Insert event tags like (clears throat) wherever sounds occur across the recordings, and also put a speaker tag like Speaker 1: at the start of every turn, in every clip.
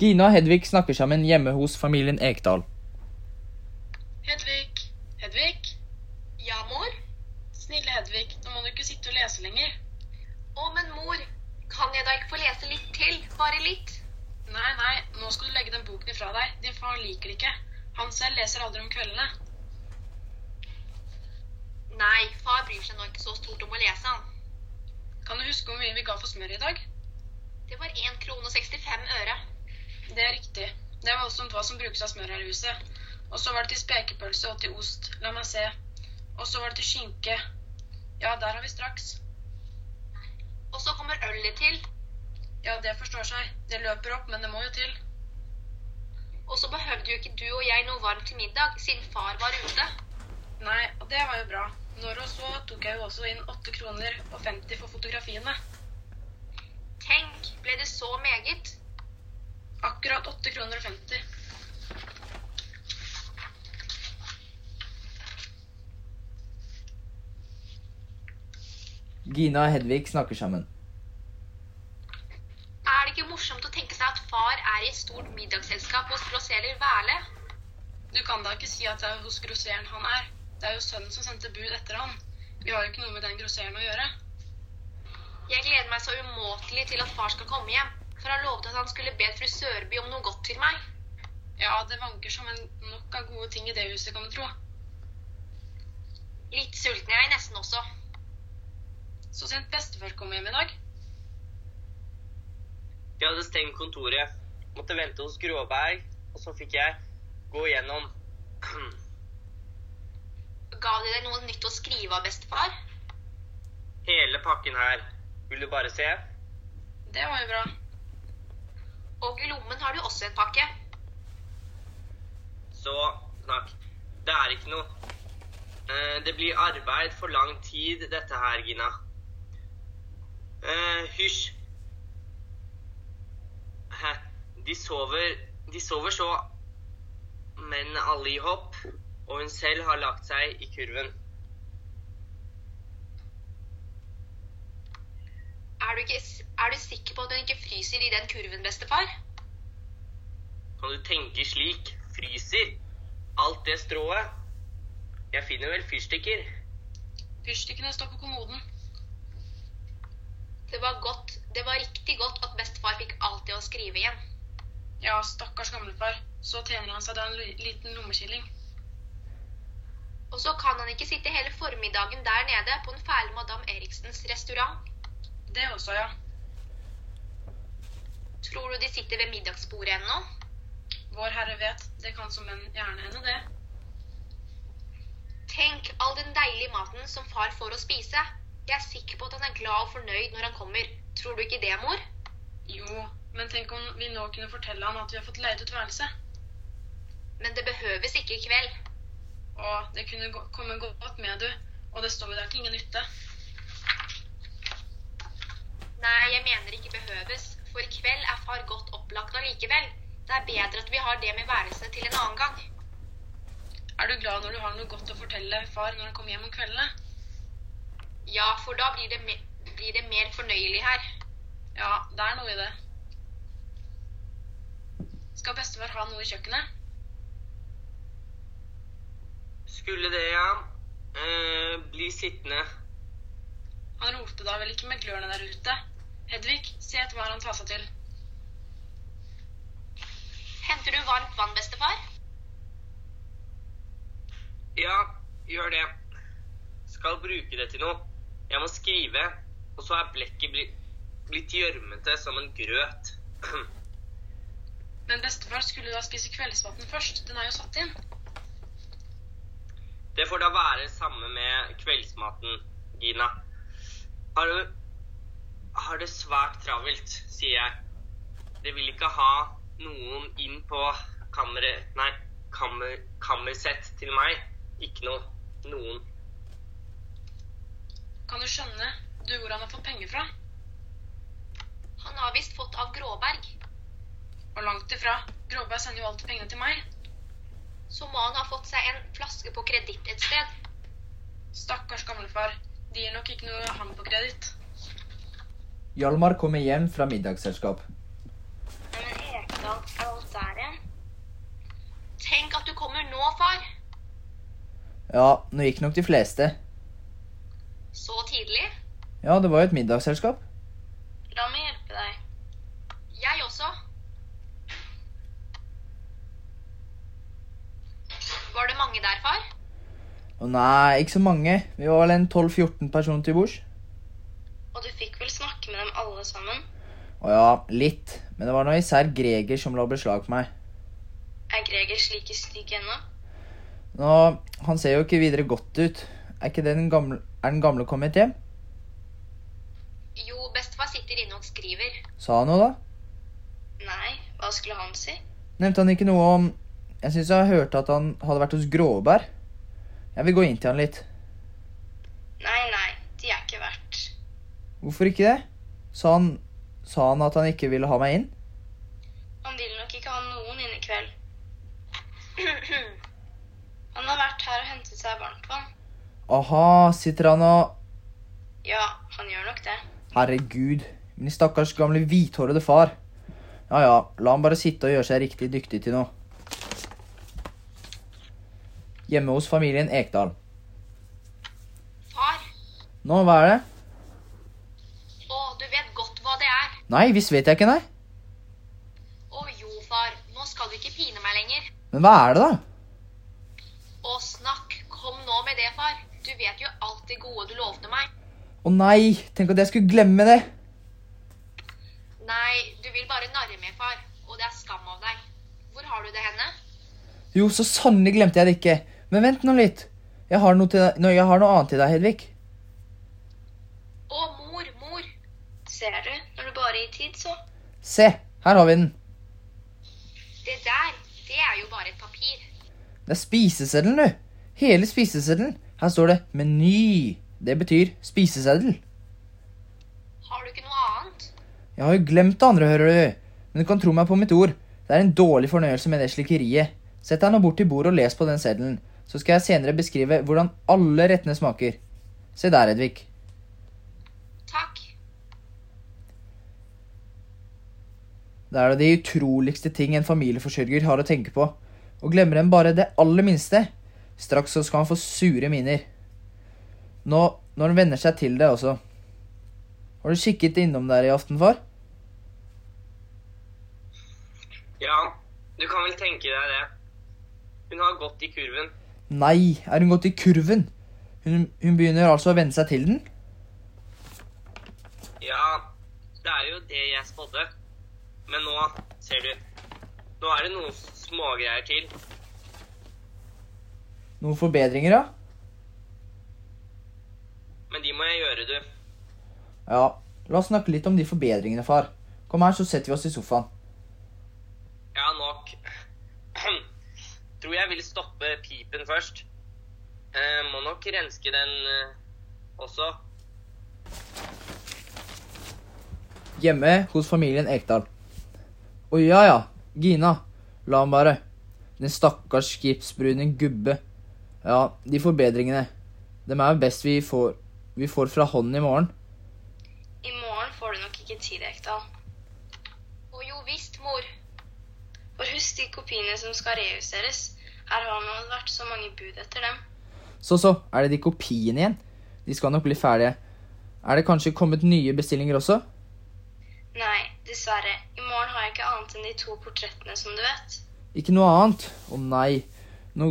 Speaker 1: Gina og Hedvig snakker sammen hjemme hos familien Ekdal.
Speaker 2: Hedvig. Hedvig? Ja, mor? Snille Hedvig, nå må du ikke sitte og lese lenger.
Speaker 3: Å, men mor, kan jeg da ikke få lese litt til? Bare litt?
Speaker 2: Nei, nei, nå skal du legge den boken ifra deg. Din far liker det ikke. Han selv leser aldri om kveldene.
Speaker 3: Nei, far bryr seg nå ikke så stort om å lese han.
Speaker 2: Kan du huske hvor mye vi ga for smør i dag?
Speaker 3: Det var 1 krone og 65 øre.
Speaker 2: Det er riktig. Det var også hva som brukes av smør her i huset. Og så var det til spekepølse og til ost. La meg se. Og så var det til skinke. Ja, der har vi straks.
Speaker 3: Og så kommer ølet til,
Speaker 2: Ja, det forstår seg. Det løper opp, men det må jo til.
Speaker 3: og så behøvde jo ikke du og jeg noe varmt til middag, siden far var ute.
Speaker 2: Nei, og det var jo bra. Når og så tok jeg jo også inn 8 kroner og 50 for fotografiene.
Speaker 3: Tenk, ble det så meget?
Speaker 2: Akkurat 8 kroner og 50.
Speaker 1: Gina og Hedvig snakker sammen.
Speaker 3: Er det ikke morsomt å tenke seg at far er i et stort middagsselskap hos grosserer Wæle?
Speaker 2: Du kan da ikke si at det er hos grosseren han er. Det er jo sønnen som sendte bud etter han. Vi har jo ikke noe med den grosseren å gjøre.
Speaker 3: Jeg gleder meg så umåtelig til at far skal komme hjem, for han lovet at han skulle be fru Sørby om noe godt til meg.
Speaker 2: Ja, det vanker som en nok av gode ting i det huset, kan du tro.
Speaker 3: Litt sulten er jeg nesten også.
Speaker 2: Så sent bestefar kom hjem i dag.
Speaker 4: Vi hadde stengt kontoret. Måtte vente hos Gråberg, og så fikk jeg gå gjennom.
Speaker 3: Gav de deg noe nytt å skrive av bestefar?
Speaker 4: Hele pakken her. Vil du bare se?
Speaker 2: Det var jo bra.
Speaker 3: Og i lommen har du også en pakke.
Speaker 4: Så snakk. Det er ikke noe. Eh, Det blir arbeid for lang tid, dette her, Gina. Eh, Hysj. Hæ, De sover De sover så Men alle i hopp, og hun selv har lagt seg i kurven.
Speaker 3: Er du, ikke, er du sikker på at hun ikke fryser i den kurven, bestefar?
Speaker 4: Kan du tenke slik? Fryser. Alt det strået. Jeg finner vel fyrstikker.
Speaker 2: Fyrstikkene står på kommoden.
Speaker 3: Det var godt, det var riktig godt at bestefar fikk alt det å skrive igjen.
Speaker 2: Ja, stakkars gamlefar. Så tjener han seg da en li- liten lommekilling.
Speaker 3: Og så kan han ikke sitte hele formiddagen der nede på den fæle madame Eriksens restaurant.
Speaker 2: Det også, ja.
Speaker 3: Tror du de sitter ved middagsbordet ennå?
Speaker 2: Vår Herre vet, det kan som en gjerne hende, det.
Speaker 3: Tenk all den deilige maten som far får å spise. Jeg er sikker på at han er glad og fornøyd når han kommer. Tror du ikke det, mor?
Speaker 2: Jo, men tenk om vi nå kunne fortelle han at vi har fått leid ut værelse.
Speaker 3: Men det behøves ikke i kveld.
Speaker 2: Og det kunne gå- komme godt med, du. Og det står jo der til ingen nytte.
Speaker 3: Nei, jeg mener ikke behøves, for i kveld er far godt opplagt allikevel. Det er bedre at vi har det med værelsene til en annen gang.
Speaker 2: Er du glad når du har noe godt å fortelle far når han kommer hjem om kveldene?
Speaker 3: Ja, for da blir det, me blir det mer fornøyelig her.
Speaker 2: Ja, det er noe i det. Skal bestefar ha noe i kjøkkenet?
Speaker 4: Skulle det, ja. Eh, bli sittende.
Speaker 2: Han ropte da vel ikke med glørne der ute. Hedvig, se etter hva han tar seg til.
Speaker 3: Henter du varmt vann, bestefar?
Speaker 4: Ja, gjør det. Skal bruke det til noe. Jeg må skrive, og så er blekket bli, blitt gjørmete som en grøt. (clears throat)
Speaker 2: Men bestefar skulle da spise kveldsmaten først. Den er jo satt inn.
Speaker 4: Det får da være samme med kveldsmaten, Gina. Har du har det svært travelt, sier jeg. Det vil ikke ha noen inn på kammeret Nei, kammer, kammersett til meg. Ikke noe. Noen.
Speaker 2: Kan du skjønne du hvor han har fått penger fra?
Speaker 3: Han har visst fått av Gråberg.
Speaker 2: Og langt ifra. Gråberg sender jo alltid pengene til meg.
Speaker 3: Så må han ha fått seg en flaske på kreditt et sted.
Speaker 2: Stakkars gamlefar. De gir nok ikke noe han på kreditt.
Speaker 1: Hjalmar kommer hjem fra middagsselskap.
Speaker 3: Men Ekdal
Speaker 5: Er alt der igjen? Tenk at du kommer nå, far.
Speaker 1: Ja, nå gikk nok de fleste.
Speaker 5: Så tidlig.
Speaker 1: Ja, det var jo et middagsselskap.
Speaker 3: La meg hjelpe deg.
Speaker 5: Jeg også. Var det mange der, far?
Speaker 1: Å nei, ikke så mange. Vi var vel en 12-14 personer til bords.
Speaker 3: Og du fikk vel snakke med dem alle sammen?
Speaker 1: Å ja, litt. Men det var nå især Greger som la beslag på meg.
Speaker 3: Er Greger slike stygg ennå?
Speaker 1: Nå, Han ser jo ikke videre godt ut. Er ikke det den gamle, er den gamle kommet hjem?
Speaker 5: Jo, bestefar sitter inne og skriver.
Speaker 1: Sa han noe, da?
Speaker 3: Nei, hva skulle han si?
Speaker 1: Nevnte han ikke noe om Jeg syns jeg hørte at han hadde vært hos Gråbær. Jeg vil gå inn til han litt.
Speaker 3: Nei, nei, de er ikke verdt.
Speaker 1: Hvorfor ikke det? Sa han, sa han at han ikke ville ha meg inn?
Speaker 3: Han vil nok ikke ha noen inn i
Speaker 5: (clears throat)
Speaker 3: kveld. han har vært her og hentet seg varmtvann.
Speaker 1: Aha, sitter han og
Speaker 3: Ja, han gjør nok det.
Speaker 1: Herregud, min stakkars gamle hvithårede far. Ja ja, la han bare sitte og gjøre seg riktig dyktig til noe. Hjemme hos familien Ekdal.
Speaker 5: Far,
Speaker 1: Nå, hva er det?
Speaker 5: å, du vet godt hva det er.
Speaker 1: Nei, visst vet jeg ikke, nei.
Speaker 5: Å jo, far, nå skal du ikke pine meg lenger.
Speaker 1: Men hva er det, da?
Speaker 5: Å, snakk, kom nå med det, far. Du vet jo alt det gode du lovte meg.
Speaker 1: Å nei, tenk at jeg skulle glemme det.
Speaker 5: Nei, du vil bare narre med, far. Og det er skam av deg. Hvor har du det henne?
Speaker 1: Jo, så sannelig glemte jeg det ikke. Men vent nå litt. Jeg har noe, til deg. Nå, jeg har noe annet til deg, Hedvig.
Speaker 5: Å, mor, mor.
Speaker 3: Ser du, når du bare gir tid, så.
Speaker 1: Se, her har vi den.
Speaker 5: Det der, det er jo bare et papir.
Speaker 1: Det er spiseseddelen, du. Hele spiseseddelen. Her står det 'meny'. Det betyr spiseseddel.
Speaker 5: Har du ikke noe annet?
Speaker 1: Jeg har jo glemt det andre, hører du. Men du kan tro meg på mitt ord. Det er en dårlig fornøyelse med det slikkeriet. Sett deg nå bort til bordet og les på den seddelen, så skal jeg senere beskrive hvordan alle rettene smaker. Se der, Edvig.
Speaker 5: Takk.
Speaker 1: Det er da de utroligste ting en familieforsørger har å tenke på. Og glemmer en bare det aller minste, straks så skal han få sure miner. Nå, når han venner seg til det også. Har du kikket innom der i aften, far?
Speaker 4: Ja, du kan vel tenke deg det. Hun har gått i kurven.
Speaker 1: Nei, er hun gått i kurven? Hun, hun begynner altså å venne seg til den?
Speaker 4: Ja, det er jo det jeg spådde. Men nå, ser du. Nå er det noen smågreier til.
Speaker 1: Noen forbedringer, da?
Speaker 4: Men de må jeg gjøre, du.
Speaker 1: Ja, la oss snakke litt om de forbedringene, far. Kom her, så setter vi oss i sofaen.
Speaker 4: Ja, nok. (clears throat) Tror jeg vil stoppe pipen først. Eh, må nok renske den eh, også.
Speaker 1: Hjemme hos familien Ekdal. Å ja ja, Gina. La ham bare. Den stakkars skipsbrune gubbe. Ja, de forbedringene. Dem er jo best vi får, vi får fra hånden i morgen.
Speaker 3: I morgen får du nok ikke tid, Ekdal.
Speaker 5: Å jo visst, mor.
Speaker 3: For husk de kopiene som skal rejusteres. Her har man vært så mange bud etter dem.
Speaker 1: Så så, er det de kopiene igjen? De skal nok bli ferdige. Er det kanskje kommet nye bestillinger også?
Speaker 3: Nei, dessverre. I morgen har jeg ikke annet enn de to portrettene, som du vet.
Speaker 1: Ikke noe annet? Å nei. Nå,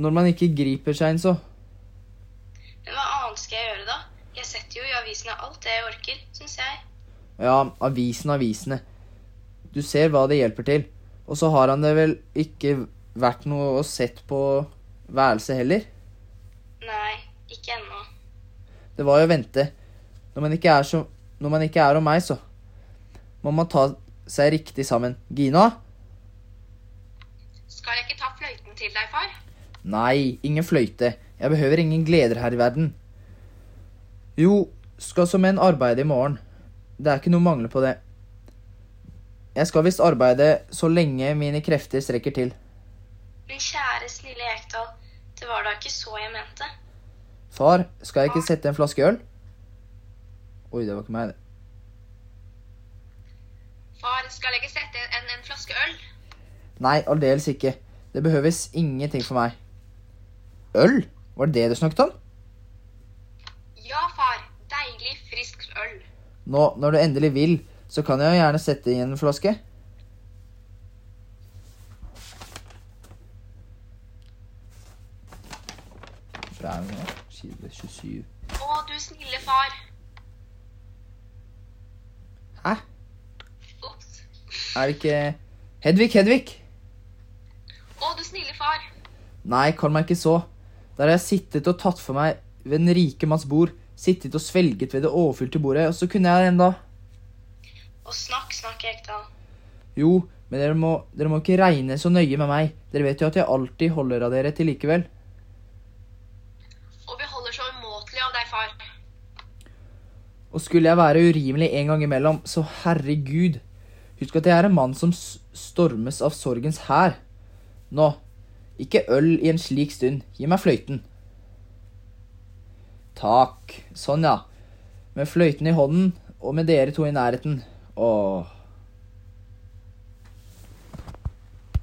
Speaker 1: når man ikke griper seg inn, så.
Speaker 3: Men hva annet skal jeg gjøre, da? Jeg setter jo i avisene alt det jeg orker, syns jeg.
Speaker 1: Ja, avisen, avisene. Du ser hva det hjelper til. Og så har han det vel ikke vært noe å sett på værelset heller.
Speaker 3: Nei, ikke ennå.
Speaker 1: Det var jo å vente. Når man ikke er, så, når man ikke er om meg, så må man ta seg riktig sammen. Gina?
Speaker 5: Skal jeg ikke ta fløyten til deg, far?
Speaker 1: Nei, ingen fløyte. Jeg behøver ingen gleder her i verden. Jo, skal som en arbeide i morgen. Det er ikke noe mangel på det. Jeg skal visst arbeide så lenge mine krefter strekker til.
Speaker 3: Men kjære, snille Ekdal, det var da ikke så jeg mente.
Speaker 1: Far, skal jeg ikke sette en flaske øl? Oi, det var ikke meg, det.
Speaker 5: Far, skal jeg ikke sette en, en flaske øl?
Speaker 1: Nei, aldeles ikke. Det behøves ingenting for meg. Øl? Var det det du snakket om?
Speaker 5: Ja, far. Deilig, frisk øl.
Speaker 1: Nå, når du endelig vil, så kan jeg jo gjerne sette i en flaske. Braunen, side 27.
Speaker 5: Å, du snille far.
Speaker 1: Hæ?
Speaker 5: Ops.
Speaker 1: Er det ikke Hedvig, Hedvig!
Speaker 5: Å, du snille far.
Speaker 1: Nei, kall meg ikke så. Der har jeg sittet og tatt for meg ved den rike manns bord, sittet og svelget ved det overfylte bordet, og så kunne jeg enda
Speaker 3: Og snakk, snakk, Ekdal.
Speaker 1: Jo, men dere må, dere må ikke regne så nøye med meg. Dere vet jo at jeg alltid holder av dere til likevel.
Speaker 5: Og vi holder så umåtelig av deg, far.
Speaker 1: Og skulle jeg være urimelig en gang imellom, så herregud. Husk at jeg er en mann som s- stormes av sorgens hær. Nå, ikke øl i en slik stund. Gi meg fløyten. Takk. Sånn, ja. Med fløyten i hånden og med dere to i nærheten. Åh.